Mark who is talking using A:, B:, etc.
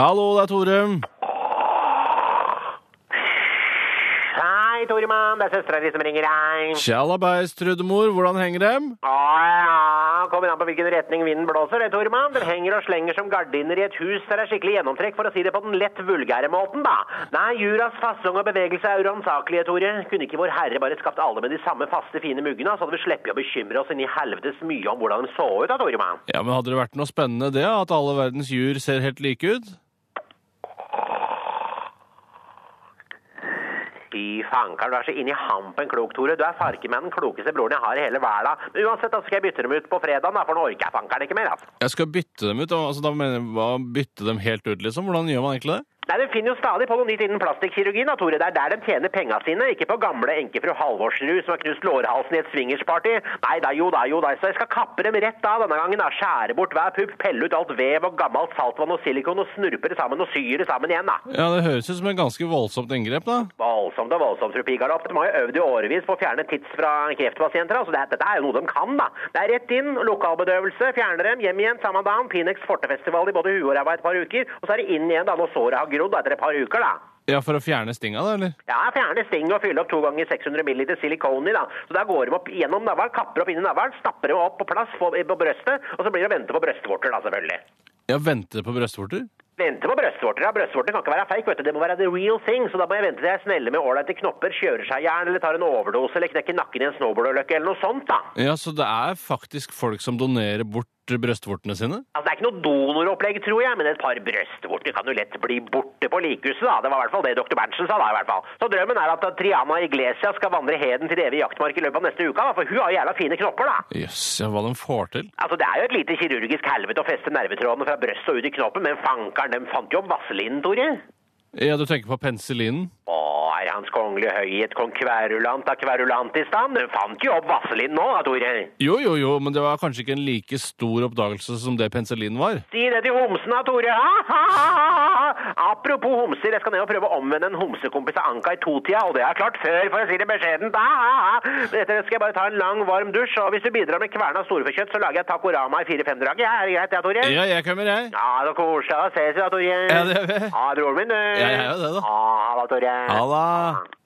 A: Hallo, det er Tore.
B: Hei, Toremann. Det er søstera di som ringer deg.
A: Tjallabais, Trudemor. Hvordan henger det?
B: Å ja. Kommer an på hvilken retning vinden blåser, det, Toremann. Den henger og slenger som gardiner i et hus der det er skikkelig gjennomtrekk, for å si det på den lett vulgære måten, da. Nei, juras fasong og bevegelse er uransakelige, Tore. Kunne ikke vår herre bare skapt alle med de samme faste, fine muggene, så hadde vi sluppet å bekymre oss inn i helvetes mye om hvordan de så ut, da, Toremann?
A: Ja, men Hadde det vært noe spennende det, at alle verdens jur ser helt like ut?
B: Fy fankeren, du er så inni hampen klok, Tore. Du er farken med den klokeste broren jeg har i hele verden. Men uansett, da skal jeg bytte dem ut på fredagen, da, for nå orker jeg fankeren ikke mer, altså.
A: Jeg skal bytte dem ut. altså da mener jeg hva, Bytte dem helt ut, liksom? Hvordan gjør man egentlig det?
B: Nei, De finner jo stadig på noe nytt innen plastikkirurgien. da, Tore. Det er der de tjener penga sine, ikke på gamle enkefru Halvorsrud som har knust lårhalsen i et swingersparty. Nei da, jo da, jo da. Så jeg skal kappe dem rett av denne gangen. da, Skjære bort hver pupp, pelle ut alt vev og gammelt saltvann og silikon og snurpe det sammen og sy det sammen igjen, da.
A: Ja, Det høres ut som et ganske voldsomt inngrep, da.
B: Voldsomt og voldsomt, fru Pigalopp. De har jo øvd i årevis på å fjerne tids fra kreftpasienter. altså det, Dette er jo noe de kan, da. Det er rett inn, lokalbedøvelse, fjerne dem, hjem igjen samme dagen. Pinex fortefestival i både huet og ræva et par uker. Og så er det inn igjen da når såret har grodd da, etter et par uker, da.
A: Ja, For å fjerne stinga, da, eller?
B: Ja, fjerne sting og fylle opp to ganger 600 ml silikon i, da. Så da går de opp gjennom navlen, kapper opp inni navlen, stapper dem opp på plass på, på brøstet, og så blir det å vente på brøstvorter, da, selvfølgelig.
A: Ja, Vente på brystvorter?
B: Vente på brøstvorter, ja. Brøstvorter kan ikke være fake, vet du. Det må være the real thing, så da må jeg vente til jeg sneller med ålreite knopper, kjører seg i jern, eller tar en overdose, eller knekker nakken i en snowboardulykke, eller noe sånt, da.
A: Ja, så det er faktisk folk som donerer bort brystvortene sine?
B: Altså, det er ikke noe donoropplegg, tror jeg, men et par brøstvorter kan jo lett bli borte på likhuset, da. Det var i hvert fall det dr. Berntsen sa, da, i hvert fall. Så drømmen er at Triana Iglesias skal vandre heden til det evige jaktmark i løpet av neste uka, da, for hun har jo jævla fine knopper, da.
A: Jøss, ja, hva de får til?
B: Altså, Det er jo et lite kirurgisk helvete å feste nervetrådene fra brøstet og ut i knoppen, men fankeren, dem fant jo opp vaselinen, Tore.
A: Ja, Du tenker på penicillinen?
B: Å, er Hans Kongelige Høyhet kong Kverulant av Kverulantistan? Den fant jo opp vaselinen nå, da, Tore.
A: Jo, jo, jo, men det var kanskje ikke en like stor oppdagelse som det penicillin var?
B: Si det til homsen da, Tore. Ha, ha, ha, ha, ha. Apropos homser, jeg skal ned og prøve å omvende en homsekompis av Anka i totida, og det har jeg klart før, for å si det beskjedent. Ha, ha, ha. Men Etter det skal jeg bare ta en lang, varm dusj, og hvis du bidrar med kverna storfekjøtt, så lager jeg tacorama i fire-fem-draget. Ja, er det greit, ja, Tore?
A: Ja, jeg kommer, jeg.
B: Ja, da koser jeg. Da ses vi da, Tore.
A: Ja, det gjør vi.
B: Ha broren min, du.
A: Ja, jeg er jo det, da.
B: Ha, ha da, Tore.
A: Ha det.